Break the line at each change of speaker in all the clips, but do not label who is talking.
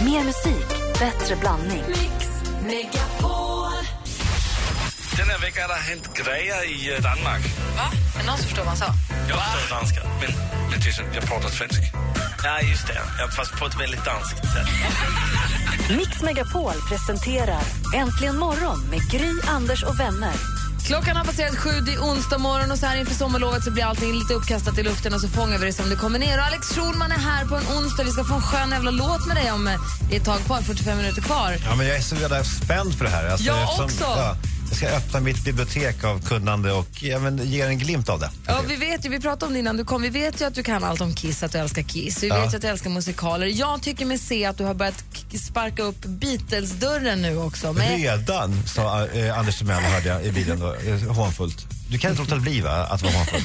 Mer musik, bättre blandning.
Mix Megapol.
Den här veckan har det hänt grejer i eh, Danmark.
Va? Men någon som förstår vad han sa?
Jag förstår danska, men det är tyst, jag pratar svenska. Ja, just det. Ja, Fast på ett väldigt danskt sätt.
Mix Megapol presenterar Äntligen morgon med Gry, Anders och vänner.
Klockan har passerat sju, det är onsdag morgon och så här inför sommarlovet så blir allting lite uppkastat i luften och så fångar vi det som det kommer ner. Och Alex Schulman är här på en onsdag. Vi ska få en skön jävla låt med dig om eh, det är ett tag kvar, 45 minuter kvar.
Ja, men jag är så jävla spänd för det här. Alltså,
Jag också.
jag ska öppna mitt bibliotek av kunnande och ja, men, ge en glimt av det.
Ja, vi vet ju, vi pratade om det innan du kom. Vi vet ju att du kan allt om Kiss, att du älskar Kiss. Vi
Ja.
vet ju att du älskar musikaler. Jag tycker mig se att du har börjat k- sparka upp Beatles-dörren nu också. Men
Redan, sa eh, Anders Timell, hörde jag i bilen då, eh, hånfullt. Du kan inte låta det bli va, att vara hånfull?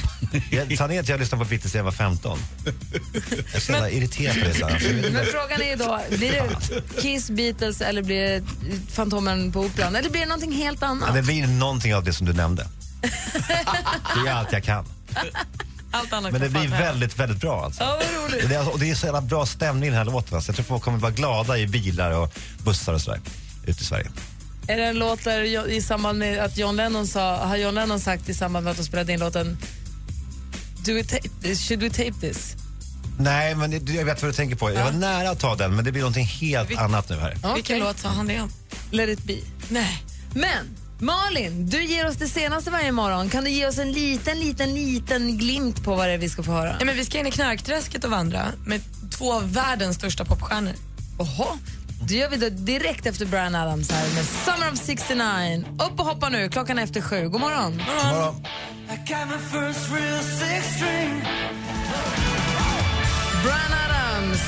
Jag- Sanningen är att jag lyssnade på Beatles när jag var 15. Jag är så jävla irriterad på det. Så här. Alltså, jag vet inte.
men frågan är ju då, blir det Kiss, Beatles eller blir det Fantomen på Operan? Eller blir det någonting helt annat?
Ja, det blir någonting av det som du nämnde. Det är allt jag kan.
Allt annat
Men det
kan
blir
fan hända.
väldigt, väldigt bra alltså.
Ja, vad roligt.
Och det, är, alltså- och det är så jävla bra stämning i den här låten. Alltså. Jag tror folk kommer vara glada i bilar och bussar och sådär ute i Sverige.
Är det en låt där Jo- i samband med att John Lennon sa, har John Lennon sagt i samband med att de spelade in låten Do we tape this? Should we tape this?
Nej, men det, jag vet vad du tänker på. Jag var nära att ta den, men det blir någonting helt annat nu här.
Vilken låt sa han det om? Let it be. Nej. Men Malin, du ger oss det senaste varje morgon. Kan du ge oss en liten, liten, liten glimt på vad det är vi ska få höra?
Ja, men vi ska in i knarkträsket och vandra med två av världens största popstjärnor.
Oho. Då gör vi det direkt efter Brian Adams här med Summer of 69. Upp och hoppa nu, klockan är efter sju. God morgon.
Morgon.
Brian Adams.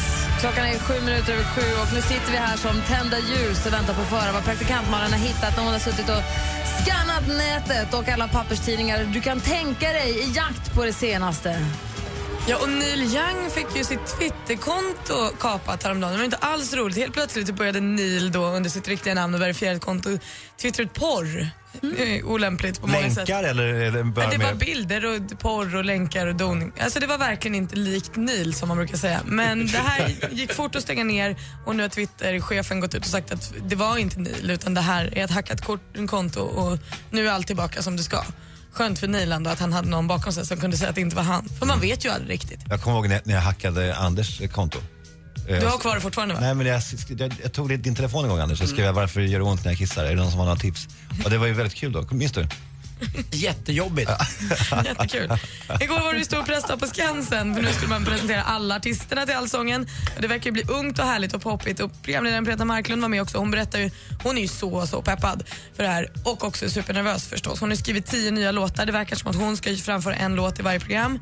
Klockan är sju minuter över sju och nu sitter vi här som tända ljus och väntar på att få höra vad praktikantmannen har hittat när hon har suttit och skannat nätet och alla papperstidningar du kan tänka dig i jakt på det senaste.
Ja, och Neil Young fick ju sitt Twitterkonto kapat häromdagen. Det var inte alls roligt. Helt plötsligt började Neil då under sitt riktiga namn och verifierat konto twittra ut porr. Mm. Olämpligt på många sätt.
Länkar eller, eller bara
Men det var
mer?
bilder och porr och länkar och doning. Alltså det var verkligen inte likt Neil som man brukar säga. Men det här gick fort att stänga ner och nu har Twitter-chefen gått ut och sagt att det var inte Neil utan det här är ett hackat kort, konto och nu är allt tillbaka som det ska. Skönt för Neil ändå att han hade någon bakom sig som kunde säga att det inte var han. För man vet ju aldrig riktigt.
Jag kommer ihåg när, när jag hackade Anders konto. Eh,
Du har kvar det fortfarande va? Mm.
Nej, men jag, sk- jag, jag tog din telefon en gång Anders och skrev jag varför gör det ont när jag kissar? Är det någon som har några tips? Och det var ju väldigt kul då, minns du?
Jättejobbigt.
Jättekul. Igår var du stor pressdag på Skansen för nu skulle man presentera alla artisterna till Allsången. Och Det verkar ju bli ungt och härligt och poppigt och programledaren Petra Marklund var med också. Hon berättar ju, hon är ju så, så peppad för det här och också supernervös förstås. Hon har ju skrivit tio nya låtar. Det verkar som att hon ska ju framföra en låt i varje program.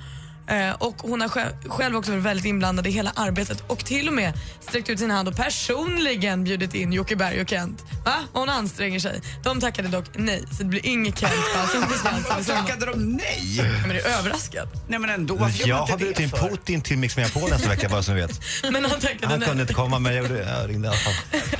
Eh, Och hon har sj- själv också varit väldigt inblandad i hela arbetet och till och med sträckt ut sin hand och personligen bjudit in Jocke Berg och Kent. Va? Hon anstränger sig. De tackade dock nej, så det blir inget Kent alls. Inte Svensson i sommar.
Tackade de nej?
Men det är överraskad.
Nej men ändå, varför gör
Jag
man inte
har bjudit
det
in
för?
Putin till Mix Megapol nästa vecka bara så ni vet.
Men han tackade
Han
nej.
kunde inte komma men jag, gjorde, jag ringde i alla fall.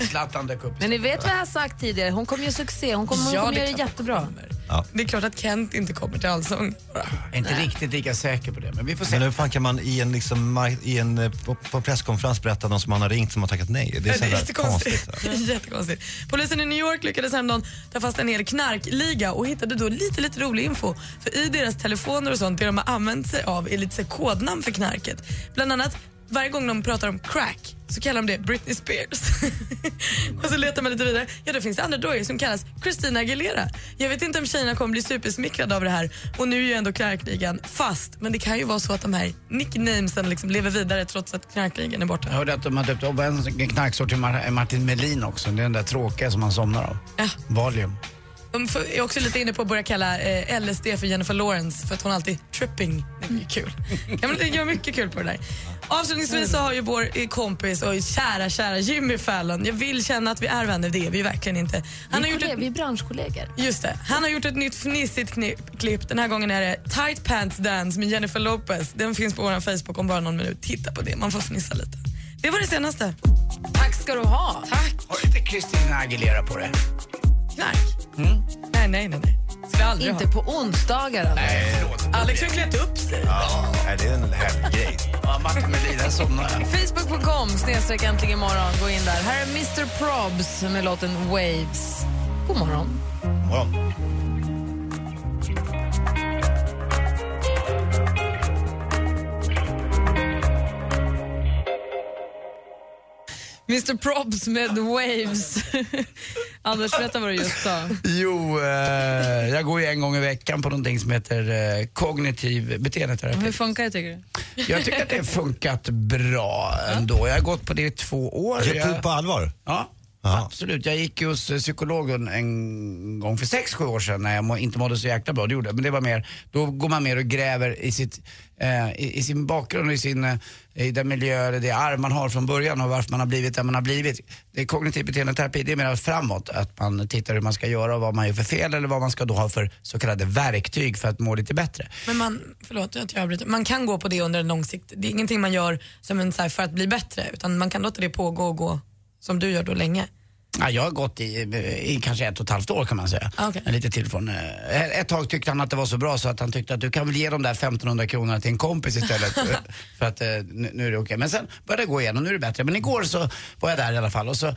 Zlatan dök upp.
Men ni vet vad jag har sagt tidigare, hon kommer göra succé, hon kommer,
Ja,
hon kommer
det är
göra det
klart.
jättebra.
Ja.
Det är klart att Kent inte kommer till Allsång.
Jag är inte riktigt lika säker på det, men vi får se.
Men hur fan kan man i en, liksom, mark- i en, eh, på, på en presskonferens berätta någon som man har ringt som har tackat nej? Det är,
Det
så
är
jävla
jättekonstigt.
konstigt. alltså.
Det är Jättekonstigt. Polisen i New York lyckades häromdagen ta fast en hel knarkliga och hittade då lite, lite rolig info. För i deras telefoner och sånt, det de har använt sig av är lite så här kodnamn för knarket. Bland annat varje gång de pratar om crack så kallar de det Britney Spears. och så letar man lite vidare. Ja, då finns det andra droger som kallas Christina Aguilera. Jag vet inte om tjejerna kommer bli supersmickrade av det här och nu är ju ändå knarkligan fast. Men det kan ju vara så att de här nicknamesen liksom lever vidare trots att knarkligan är borta.
Jag hörde att de har döpt om en knarksort till Mar- eh, Martin Melin också. Det är den där tråkiga som man somnar av.
Ja.
Valium.
De f- är också lite inne på att börja kalla eh, LSD för Jennifer Lawrence för att hon alltid tripping. Det är kul. Ja, men Det gör mycket kul på det där. Avslutningsvis så har ju vår eh, kompis och kära, kära Jimmy Fallon, jag vill känna att vi är vänner, det är vi verkligen inte. Han har gjort ett,
Vi är branschkollegor.
just det, han har gjort ett nytt fnissigt knip, klipp. Den här gången är det Tight Pants Dance med Jennifer Lopez. Den finns på vår Facebook om bara någon minut. Titta på det, man får fnissa lite. Det var det senaste.
Tack ska du ha.
Har inte Christina Aguilera på det?
Knark.
Mm.
Nej, nej, nej, nej. Skulle jag aldrig
Inte
ha.
på onsdagar alltså.
Nej, förlåt.
Alex har klätt upp sig.
Ja, nej, det är en härlig grej.
Ja, Martin Melin, där somnade jag.
Facebook.com snedstreck äntligen imorgon. Gå in där. Här är Mr Probs med låten Waves. God morgon.
Morgon.
Mr Probs med Waves. Anders, berätta vad du just sa.
Jo, eh, jag går ju en gång i veckan på någonting som heter eh, kognitiv beteendeterapi.
Hur funkar det tycker du?
Jag tycker att det har funkat bra ändå. Jag har gått på det i två år.
Gick du
Jag-
på allvar?
Ja.
Ja.
Absolut, jag gick ju hos eh, psykologen en gång för sex sju år sedan när jag må, inte mådde så jäkla bra, det gjorde jag. Men det var mer, då går man mer och gräver i, sitt, eh, i, i sin bakgrund och i, sin, eh, i den miljö, eller det arv man har från början och varför man har blivit där man har blivit. Det är kognitiv beteendeterapi, det är mer framåt, att man tittar hur man ska göra och vad man gör för fel eller vad man ska då ha för så kallade verktyg för att må lite bättre.
Men man, förlåt att jag avbryter, man kan gå på det under en lång sikt. Det är ingenting man gör som en, så här, för att bli bättre utan man kan låta det pågå och gå som du gör då länge.
Ja, jag har gått i, i kanske ett och ett halvt år kan man säga.
Okej.
Lite till från. eh, Ett tag tyckte han att det var så bra så att han tyckte att du kan väl ge de där 1500 kronorna till en kompis istället. eh, för att eh, nu, nu är det okej. Men sen började det gå igen och nu är det bättre. Men igår så var jag där i alla fall och så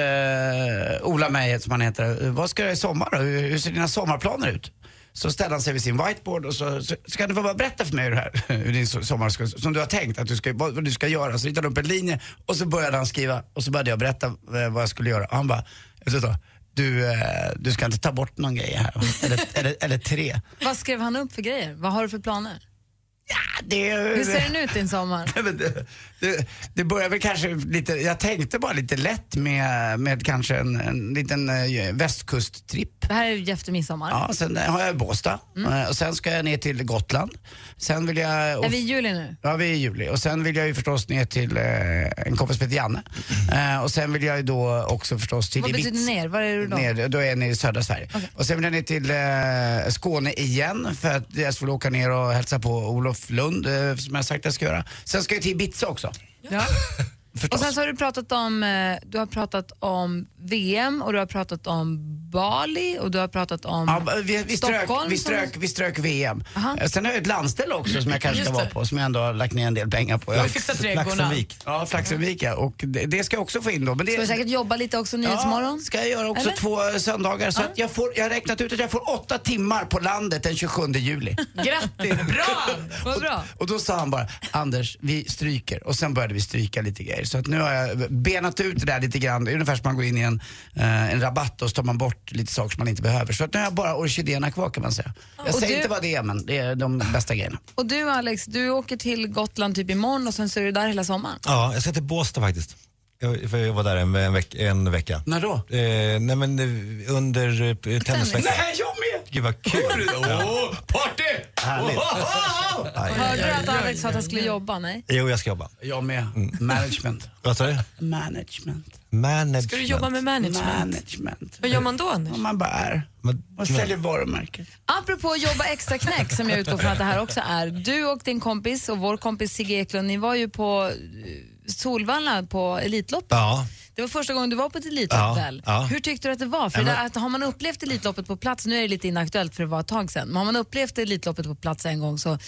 frågade eh, Ola mig, som han heter, eh, vad ska jag göra i sommar då? Hur, hur ser dina sommarplaner ut? Så ställde han sig vid sin whiteboard och så, så ska du få bara berätta för mig hur, det här, hur din so- sommar ska, som du har tänkt att du ska, vad, vad du ska göra. Så ritade han upp en linje och så började han skriva och så började jag berätta eh, vad jag skulle göra. Och han bara, efter ett tag, du, eh, du ska inte ta bort någon grej här va? eller, eller, eller tre.
Vad skrev han upp för grejer? Vad har du för planer?
Ja, det,
Hur ser den ut din sommar?
Nej, men det, det, det börjar väl kanske lite, jag tänkte bara lite lätt med, med kanske en, en liten eh, västkusttripp.
Det här är ju efter midsommar.
Ja, sen har jag Båstad
Mm.
Eh, och sen ska jag ner till Gotland. Sen vill jag...
Är vi i juli nu?
Ja, vi är i juli. Och sen vill jag ju förstås ner till eh, en kompis som heter Janne. Eh, och sen vill jag ju då också förstås till
Mm. Vad
Ibiza.
betyder ner? Var är du då?
Ner, då är jag nere i södra Sverige. Och sen vill jag ner till eh, Skåne igen för att jag skulle åka ner och hälsa på Olof Lund eh, som jag sagt att jag ska göra. Sen ska jag till Ibiza också.
Ja. Och
Förstås.
sen så har du pratat om, eh, du har pratat om VM och du har pratat om Bali och du har pratat om...
Ja, vi, vi, strök,
Stockholm
vi,
som-
strök, vi strök VM.
Aha.
Eh, Sen har jag ett landställe också som jag kanske ska
Just
vara
det.
på som jag ändå har lagt ner en del pengar på.
Du har
Jag,
ju fixat trädgårdarna.
Laxenvik.
ja, Flaxenvik ja. Och det, det ska jag också få in då. Men det,
Ska vi säkert jobba lite också Nyhetsmorgon?
Ja, ska jag göra också
Eller?
två eh, söndagar. Så att jag, får, jag har räknat ut att jag får åtta timmar på landet den 27 juli.
Grattis, bra!
Vad bra.
Och då sa han bara, Anders, vi stryker. Och sen började vi stryka lite grejer. Så att nu har jag benat ut det där lite grann. Det är ungefär som man går in i en, eh, en rabatt och så tar man bort lite saker som man inte behöver. Så att nu har jag bara orkidéerna kvar kan man säga. Jag
Och
säger
du-
inte vad det är, men det är de bästa grejerna.
Och du Alex, du åker till Gotland typ imorgon och sen så är du där hela sommaren.
Ja, jag ska till Båstad faktiskt. Jag, för jag var där en, en, veck, en vecka.
När då?
Eh, nej men eh, under eh, tennisveckan.
Nej, jag med!
Gud vad kul.
Åh, party!
Härligt. Aj, aj,
Hörde du
aj.
att Alex sa att han skulle jobba? Nej.
Jo, jag ska jobba.
Jag med. Management.
Vad sa du?
Management.
Management.
Ska du jobba med management?
Management.
Vad gör man då Anders?
Om man bara är.
Men-
Man säljer varumärken.
Apropå jobba extra knäck som jag utgår från att det här också är. Du och din kompis och vår kompis Sigge Eklund, ni var ju på eh, Solvalla på Elitloppet.
Ja.
Det var första gången du var på ett Elitlopp
Ja,
väl?
ja.
Hur tyckte du att det var? För
Ja,
det,
men-
att, har man upplevt Elitloppet på plats, nu är det lite inaktuellt för det var ett tag sedan, men har man upplevt Elitloppet på plats en gång så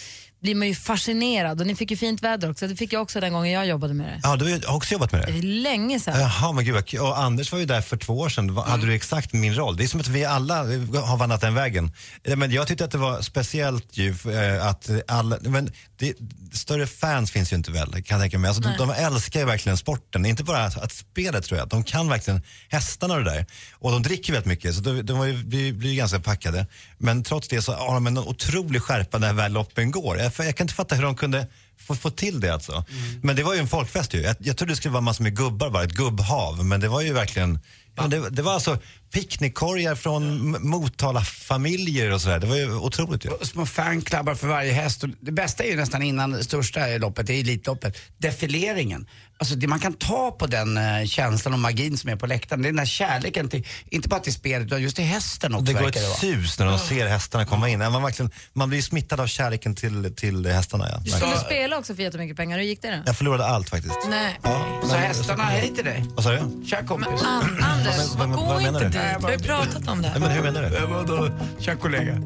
blir man ju fascinerad och ni fick ju fint väder också, det fick jag också den gången jag jobbade med det.
ja, du har ju också jobbat med
Det
det.
är länge sedan.
Jaha, men gud vad kul. Och Anders var ju där för två år sedan. Va- Hade du exakt min roll? Det är som att vi alla eh, har vandrat den vägen. Eh, Men jag tyckte att det var speciellt ju eh, att eh, alla, men det, större fans finns ju inte väl, kan jag tänka mig. Alltså, de, de älskar ju verkligen sporten. Inte bara att, att spelet tror jag, de kan verkligen hästarna och det där. Och de dricker väldigt mycket, så de, de var ju, blir, blir ju ganska packade. Men trots det så har de en otrolig skärpa när väl loppen går. Jag, jag kan inte fatta hur de kunde få, få till det alltså. Men det var ju en folkfest ju. Jag, jag trodde det skulle vara massor med gubbar bara, ett gubbhav. Men det var ju verkligen, ja, det, det var alltså picknickkorgar från mm. Motala-familjer och sådär. Det var ju otroligt ju.
små fanklubbar för varje häst. Och det bästa är ju nästan innan det största loppet, det är Elitloppet, defileringen. Alltså det, man kan ta på den eh, känslan och magin som är på läktaren. Det är den där kärleken till, inte bara till spelet utan just till hästen också
Det går
verkar det vara.
ett sus när de ser hästarna komma in. Man, verkligen, man blir ju smittad av kärleken till, till hästarna. Ja.
Du skulle
Verkligen.
spela också för jättemycket pengar, hur gick det då?
Jag förlorade allt faktiskt.
Nej.
Ja,
Så hästarna, hej till dig.
Vad sa du?
Tja kompis.
An- Anders,
Vad-
vad,
vad-
gå
vad menar
inte
du?
dit. Vi har ju pratat om det.
Eh,
Nej, men hur menar du?
Vadå, tja kollega?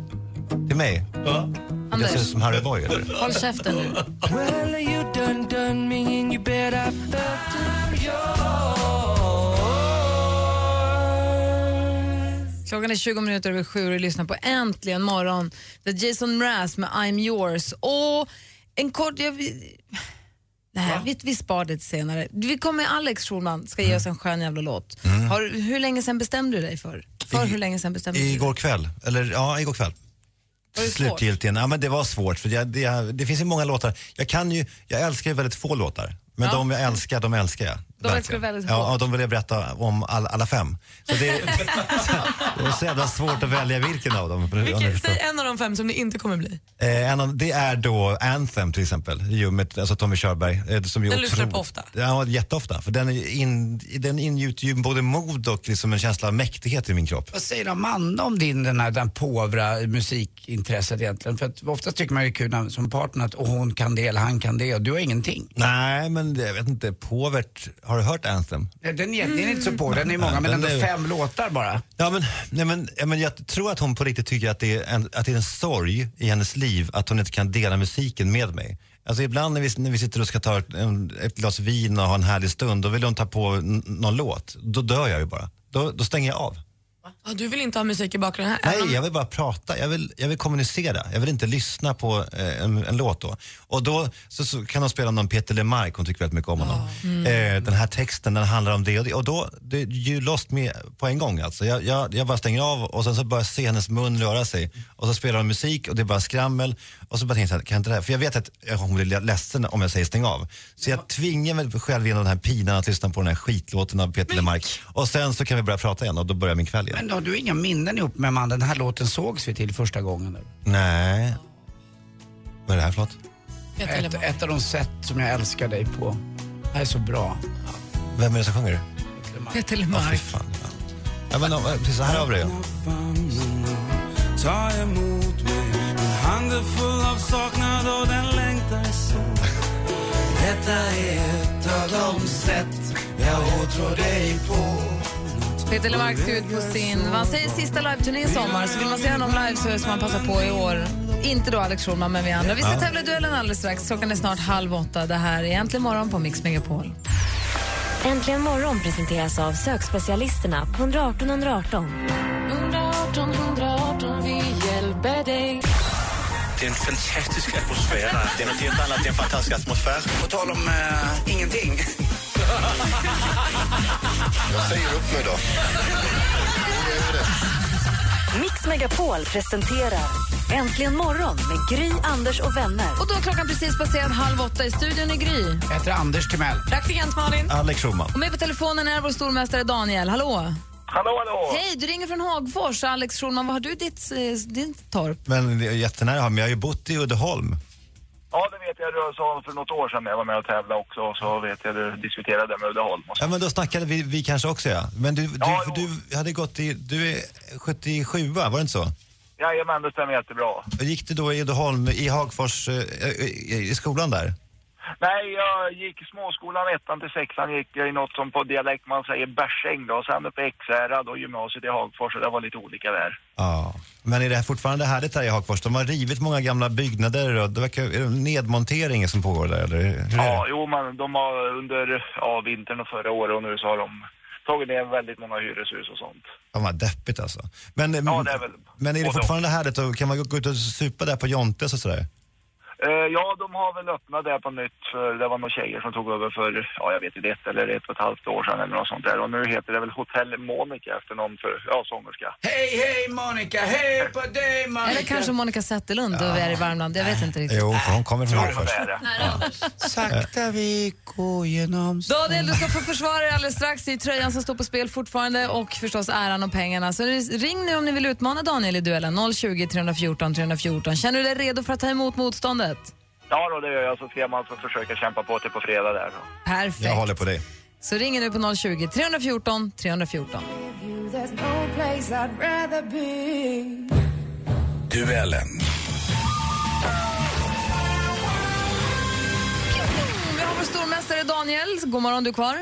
Till mig?
Ja.
Jag ser ut
Anders,
som Harry Boy, eller?
håll käften nu. Klockan är 20 minuter över sju och du lyssnar på Äntligen morgon. Det är Jason Mraz med I'm yours. Och en kort... Jag, vi- nej, vi, vi spar det till senare. Vi kommer med Alex Schulman, ska
Mm.
ge oss en skön jävla låt. Har, hur länge sen bestämde du dig för? För
I-
hur länge sen bestämde du dig?
Igår kväll, eller ja, igår kväll.
Var det svårt?
Slutgiltigen. Ja, men det var svårt, för jag, det, det finns ju många låtar. Jag kan ju, jag älskar ju väldigt få låtar. Men de jag älskar, de älskar jag. verkligen.
älskar du väldigt få.
Ja, och de vill jag berätta om all, alla fem. Så det, det var så jävla svårt att välja vilken av dem. för- om ni
Vilket,
förstår.
säg en av de fem som det inte kommer bli.
Eh, en av, det är då Anthem till exempel, ju med, alltså Tommy Körberg. Eh, som ju
Den lyssnar
otroligt-
på ofta.
Ja, jätteofta. För den, är in, den ingjuter ju både mod och liksom en känsla av mäktighet i min kropp.
Vad säger Amanda om din, den här, den påvra musikintresset egentligen? För att oftast tycker man ju det är kul när, som partner att "Åh, hon kan det eller han kan det och du har ingenting.
Nej, men det- jag vet inte. Påvert, har du hört Anthem?
Den är, den är inte så på, den är
Nej,
många, men
den
ändå
är-
fem låtar bara.
Ja, men, nej, men, ja, men jag tror att hon på riktigt tycker att det, är en, att det är en sorg i hennes liv att hon inte kan dela musiken med mig. Alltså ibland när vi, när vi sitter och ska ta ett, en- ett glas vin och ha en härlig stund, då vill hon ta på n- någon låt. Då dör jag ju bara. Då, då stänger jag av.
Ja, du vill inte ha musik i bakgrunden här? även om-
Nej, jag vill bara prata. Jag vill, jag vill kommunicera. Jag vill inte lyssna på eh, en, en låt då. Och då så, så kan hon spela någon Peter LeMarc, hon tycker väldigt mycket om honom. Eh, den här texten, den handlar om det och det. Och då, det, you lost me på en gång alltså. Jag, jag, jag bara stänger av och sen så börjar jag se hennes mun röra sig. Och så spelar hon musik och det är bara skrammel. Och så bara tänker jag, så här, kan jag inte det här? För jag vet att eh, hon blir ledsen om jag säger stäng av. Så jag tvingar mig själv genom den här pinan att lyssna på den här skitlåten av Peter LeMarc. Och sen så kan vi börja prata igen och då börjar min kväll igen.
Men har du inga minnen ihop med Amanda? Den här låten sågs vi till första gången. nu.
Nej. Vad är det här för något?
Peter
Ett,
Leman.
ett av de sätt som jag älskar dig på. Det här är så bra.
Vem är det som sjunger? Ja, fy
Peter Lemark.
fan. Ja. Ja, men, ja, precis, så här har vi det.
Ta emot mig Min hand är full av saknad och den längtar så Detta är ett av de sätt jag åtrår dig på
Peter Lemark ska ut på sin vad han säger, sista liveturné i sommar. Så vill man se honom live så ska man passa på i år. Inte då Alex Schulman, men vi andra. Vi ska tävla i duellen alldeles strax. Klockan är snart halv åtta. Det här är Äntligen morgon på Mix Megapol.
Äntligen morgon presenteras av sökspecialisterna på 118 118.
Det är en fantastisk atmosfär där. Det är något helt annat, det är en fantastisk atmosfär.
På tal om eh, ingenting.
Mix Megapol presenterar Äntligen morgon med Gry, Anders och vänner.
Och då har klockan precis passerat halv åtta i studion i Gry.
Jag heter Anders Timell.
Praktikant Malin.
Alex Schulman.
Och med på telefonen är vår stormästare Daniel. Hallå!
Hallå, hallå!
Hej, du ringer från Hagfors. Alex Schulman, var har du ditt, eh, din torp?
Men det är jättenära, men jag har ju bott i Uddeholm.
Ja, det vet jag. Du sa för något år sedan när jag var med och tävlade också och så vet jag du diskuterade med Uddeholm och så.
Ja, men då snackade vi, vi kanske också ja. Men du, du,
Ja,
för
jo.
du hade gått i, du är 77 var det inte så?
Jajamän, det stämmer jättebra.
Och Gick du då i Uddeholm, i Hagfors, eh, eh, i skolan där?
Nej, jag gick i småskolan, ettan till sexan gick jag i något som på dialekt man säger bärsäng då. Och sen uppe i Ekshärad och gymnasiet i Hagfors och det var lite olika där.
Ja. Men är det här fortfarande härligt här i Hagfors? De har rivit många gamla byggnader och det verkar, är det nedmontering som pågår där eller? Hur är det?
Ja, jo men de har under ja, vintern och förra året och nu så har de tagit ner väldigt många hyreshus och sånt.
Fan vad deppigt alltså. Men,
Ja, det är väl-
men är det
både
fortfarande härligt och kan man gå- gå ut och supa där på Jontes och sådär?
Eh, ja, de har väl öppnat det på nytt för det var några tjejer som tog över för, ja jag vet inte, ett eller ett och ett halvt år sedan eller något sånt där. Och nu heter det väl Hotell Monica efter någon för, ja, sångerska.
Hej, hej Monica! Hej på dig Monica!
Eller kanske Monica Zetterlund, ja. är i Värmland. Jag vet inte riktigt.
Jo, för hon kommer från
Ja, men
Hagfors.
det är det.
Sakta vi går genom...
Daniel, du ska få försvara dig alldeles strax. Det är tröjan som står på spel fortfarande och förstås äran och pengarna. Så ring nu om ni vill utmana Daniel i duellen. 020 314 314. Känner du dig redo för att ta emot motståndet?
Ja, då, det gör jag. Så ska man så försöka kämpa på till på fredag där. Så.
Perfekt.
Jag håller på dig.
Så ringer nu på 020 314 314.
Duellen
Vi har vår stormästare Daniel. God morgon, du är kvar?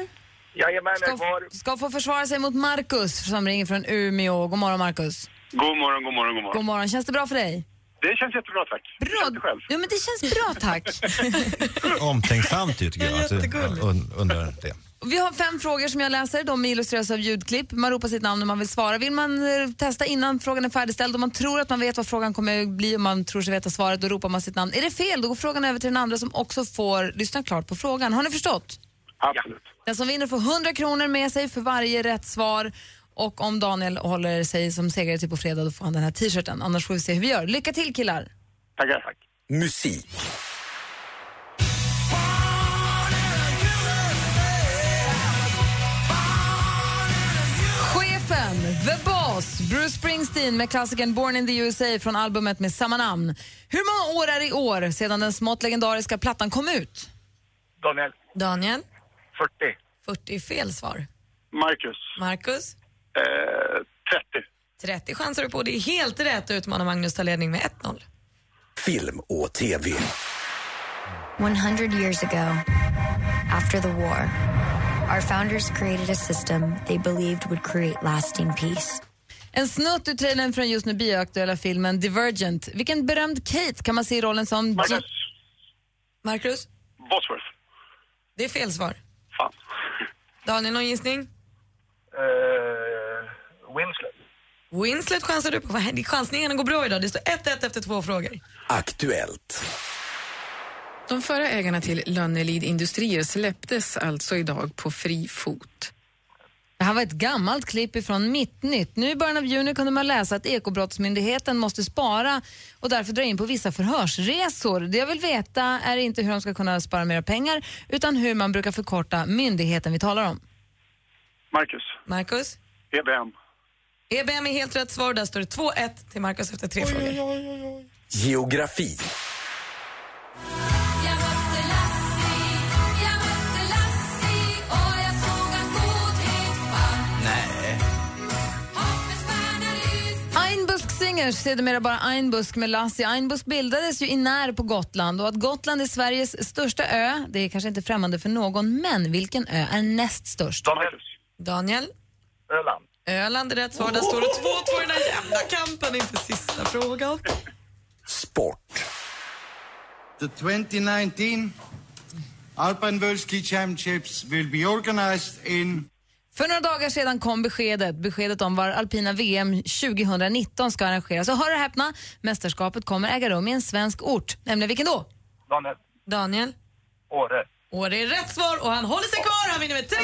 Jajamän, jag är kvar.
Ska få försvara sig mot Markus som ringer från Umeå. God morgon, Markus.
God morgon, god morgon, god morgon.
God morgon. Känns det bra för dig?
Det känns jättebra tack.
Bra.
Inte själv.
Ja, men det känns bra, tack.
Omtänksamt ju, tycker jag. Att,
jättegulligt.
un, undrar det.
Vi har fem frågor som jag läser. De illustreras av ljudklipp. Man ropar sitt namn när man vill svara. Vill man eh, testa innan frågan är färdigställd och man tror att man vet vad frågan kommer att bli och man tror sig veta svaret, då ropar man sitt namn. Är det fel, då går frågan över till den andra som också får lyssna klart på frågan. Har ni förstått?
Absolut.
Den som vinner får 100 kronor med sig för varje rätt svar. Och om Daniel håller sig som segrare till på fredag, då får han den här t-shirten. Annars får vi se hur vi gör. Lycka till killar!
Tackar. Tack.
Musik.
Chefen, The Boss, Bruce Springsteen med klassikern Born in the USA från albumet med samma namn. Hur många år är det i år sedan den smått legendariska plattan kom ut?
Daniel,
Daniel,
40.
40 är fel svar.
Marcus,
Marcus,
eh, 30.
30 chansar du på. Det är helt rätt. Då utmanar Magnus tar ledning med 1-0.
Film och TV.
100 years ago, after the war, our founders created a system they believed would create lasting peace.
En snutt ur trailern från just nu bioaktuella filmen Divergent. Vilken berömd Kate kan man se i rollen som... Jean-
Marcus,
Marcus,
Bosworth.
det är fel svar.
Fan.
Daniel, någon gissning?
Eh, Winslet.
Winslet chansar du på. Vad händer? Chansningarna går bra idag. Det står 1-1 efter två frågor.
Aktuellt.
De förra ägarna till Lönnelid Industrier släpptes alltså idag på fri fot.
Det här var ett gammalt klipp ifrån Mittnytt. Nu i början av juni kunde man läsa att Ekobrottsmyndigheten måste spara och därför dra in på vissa förhörsresor. Det jag vill veta är inte hur de ska kunna spara mer pengar utan hur man brukar förkorta myndigheten vi talar om.
Marcus,
Marcus?
EBM.
EBM är helt rätt svar. Där står det 2-1 till Marcus efter tre frågor.
Geografi.
Jag mötte Lassie, jag mötte Lassie och jag såg att godhet vann.
Nej.
Hoppets stjärna lyste
Einbusk Singers, sedermera bara Einbusk med Lassie. Einbusk bildades ju i när på Gotland och att Gotland är Sveriges största ö, det är kanske inte främmande för någon, men vilken ö är näst störst?
Daniel,
Daniel?
Öland.
Öland är rätt svar. Där står det 2-2 i den här jämna kampen inför sista frågan.
Sport.
The 2019 Alpine World Ski Championships will be organized in...
För några dagar sedan kom beskedet, beskedet om var alpina VM 2019 ska arrangeras. Och hör och häpna, mästerskapet kommer äga rum i en svensk ort. Nämligen vilken då?
Daniel,
Daniel?
Åre.
Och det är rätt svar och han håller sig kvar. Han vinner med 3-2.